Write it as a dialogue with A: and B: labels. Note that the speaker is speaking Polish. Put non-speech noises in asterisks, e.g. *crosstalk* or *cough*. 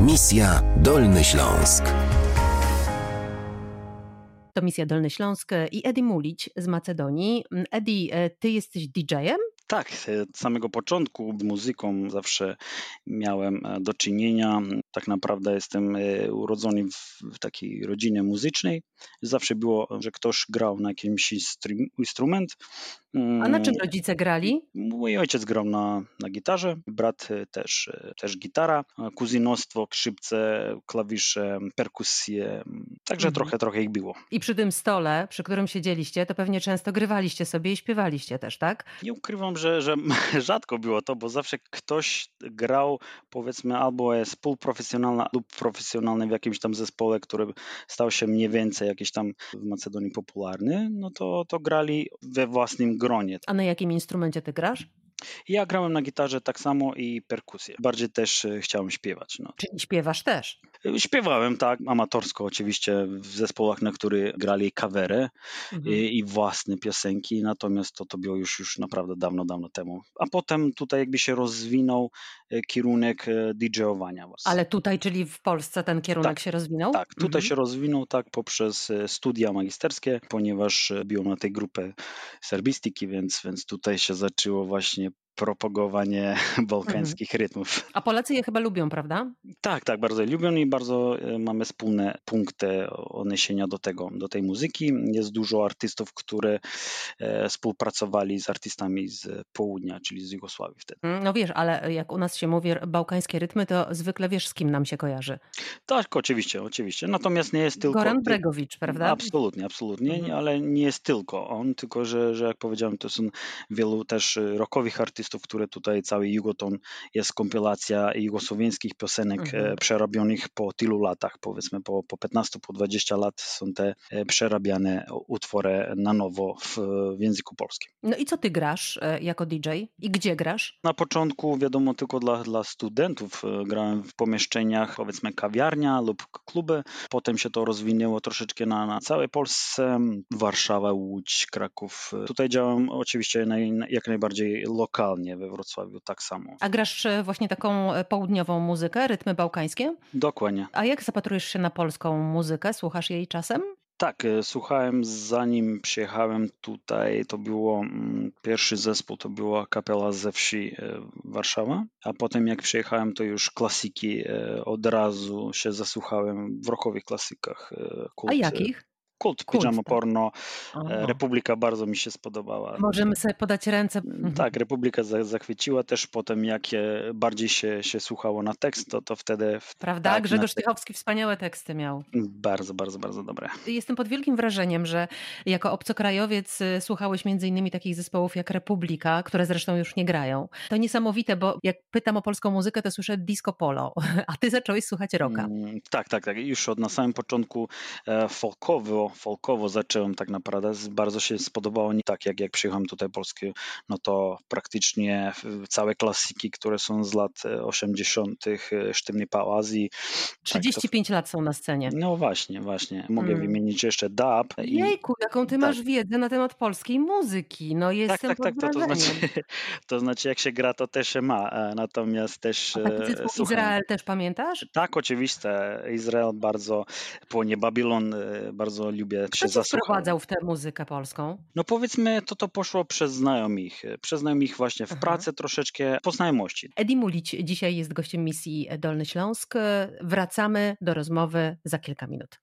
A: Misja Dolny Śląsk.
B: To Misja Dolny Śląsk e, i Edi Mulić z Macedonii. Edi, ty jesteś DJ-em?
C: Tak, od samego początku muzyką zawsze miałem e, do czynienia. Tak naprawdę jestem e, urodzony w takiej rodzinie muzycznej. Zawsze było, że ktoś grał na jakimś instru- instrument.
B: A na czym
C: Mm.
B: rodzice grali?
C: Mój ojciec grał na, na gitarze, brat e, też, też gitara, e, kuzynostwo, skrzypce, klawisze, perkusje. Także mhm. trochę, trochę ich było.
B: I przy tym stole, przy którym siedzieliście, to pewnie często grywaliście sobie i śpiewaliście też, tak?
C: Nie ukrywam, że, *laughs* że rzadko było to, bo zawsze ktoś grał, powiedzmy, albo jest półprofesjonalna lub profesjonalny w jakimś tam zespole, który stał się mniej więcej jakiś tam w Macedonii popularny, no to, to grali we własnym gronie.
B: A na jakim instrumencie ty grasz?
C: Ja grałem na gitarze tak samo i perkusję. Bardziej też e, chciałem śpiewać. No.
B: Czyli śpiewasz też?
C: Śpiewałem tak, amatorsko oczywiście, w zespołach, na których grali kawery mhm. i, i, własne piosenki, natomiast to, to było już, już naprawdę dawno, dawno temu. A potem tutaj jakby się rozwinął y, kierunek DJ-owania.
B: Ale tutaj, czyli w Polsce ten kierunek
C: tak,
B: się rozwinął?
C: Tak, tutaj mhm. się rozwinął tak poprzez studia magisterskie, ponieważ byłem na tej grupie serbistyki, więc, więc tutaj się zaczęło właśnie propagowanie *laughs* bałkańskich mhm. rytmów.
B: A Polacy je chyba lubią, prawda?
C: Tak, tak, bardzo je lubią i bardzo e, mamy wspólne punkty odniesienia do tego, do tej muzyki. Jest dużo artystów, które e, współpracowali z artystami z południa, czyli z Jugosławii wtedy.
B: No wiesz, ale jak u nas się mówi bałkańskie rytmy, to zwykle wiesz, z kim nam się kojarzy.
C: Tak, oczywiście, oczywiście. Natomiast nie jest tylko...
B: Goran Bregovic, prawda?
C: No, Absolutnie, absolutnie, mhm. ale nie jest tylko on, tylko że, że jak powiedziałem, to są wielu też rockowych artystów, artystów, które tutaj cały Jugoton jest kompilacja jugosłowiańskich piosenek mhm. przerobionych po tylu latach, powiedzmy po, po 15, po 20 lat są te e, przerabiane utwory na nowo w, w języku polskim.
B: No i co ty grasz jako DJ i gdzie grasz?
C: Na początku wiadomo tylko dla, dla studentów e, grałem w pomieszczeniach powiedzmy kawiarnia lub kluby, potem się to rozwinęło troszeczkę na, na całej Polsce, Warszawa, Łódź, Kraków. Tutaj działam oczywiście naj, jak najbardziej lokalnie we Wrocławiu tak samo.
B: A grasz właśnie taką e, południową muzykę, rytmy bałkańskie?
C: Dokładnie.
B: A jak zapatrujesz się na polską muzykę? Słuchasz jej czasem?
C: Tak, słuchałem zanim przyjechałem tutaj, to było mm, pierwszy zespół, to była kapela ze wsi e, Warszawa, a potem jak przyjechałem to już klasyki, od razu się zasłuchałem w rockowych klasykach. e,
B: Kult, a jakich?
C: Kult, Kult Pijama tak. Porno.
B: e,
C: Aha. Republika bardzo mi się spodobała.
B: Możemy sobie podać ręce. mhm.
C: Tak, Republika za, zachwyciła też potem, jak e, bardziej się, się słuchało na tekst, to, to wtedy...
B: Prawda? Tak, Grzegorz Tychowski wspaniałe teksty miał.
C: Bardzo, bardzo, bardzo dobre.
B: Jestem pod wielkim wrażeniem, że jako obcokrajowiec e, słuchałeś między innymi takich zespołów jak Republika, które zresztą już nie grają. To niesamowite, bo jak pytam o polską muzykę, to słyszę disco polo, *laughs* a ty zacząłeś słuchać rocka. Mm,
C: tak, tak, tak. Już od na samym początku e, folkowo folkowo zacząłem tak naprawdę. Bardzo się spodobało nie tak, jak, jak przyjechałem tutaj do Polski, no to praktycznie e, całe klasyki, które są z lat 80., Sztywny Pałazji.
B: 35 tak, to... lat są na scenie.
C: No właśnie, właśnie. Mogę mm. wymienić jeszcze dub.
B: I... Jejku, jaką ty tak. masz wiedzę na temat polskiej muzyki. No jestem
C: tak, tak, tak, to, to, znaczy, *laughs* to znaczy jak się gra, to też się ma. e, Natomiast też... e,
B: A słucham. Izrael też pamiętasz?
C: Tak, oczywiście. Izrael bardzo, płonie Babilon e, bardzo lubię
B: Kto się
C: zasłuchał.
B: wprowadzał w tę muzykę polską?
C: No powiedzmy, to to poszło przez znajomych. e, Przez znajomych właśnie w Aha. pracy troszeczkę, po znajomości.
B: Edi Mulić dzisiaj jest gościem misji Dolny Śląsk. Wracamy do rozmowy za kilka minut.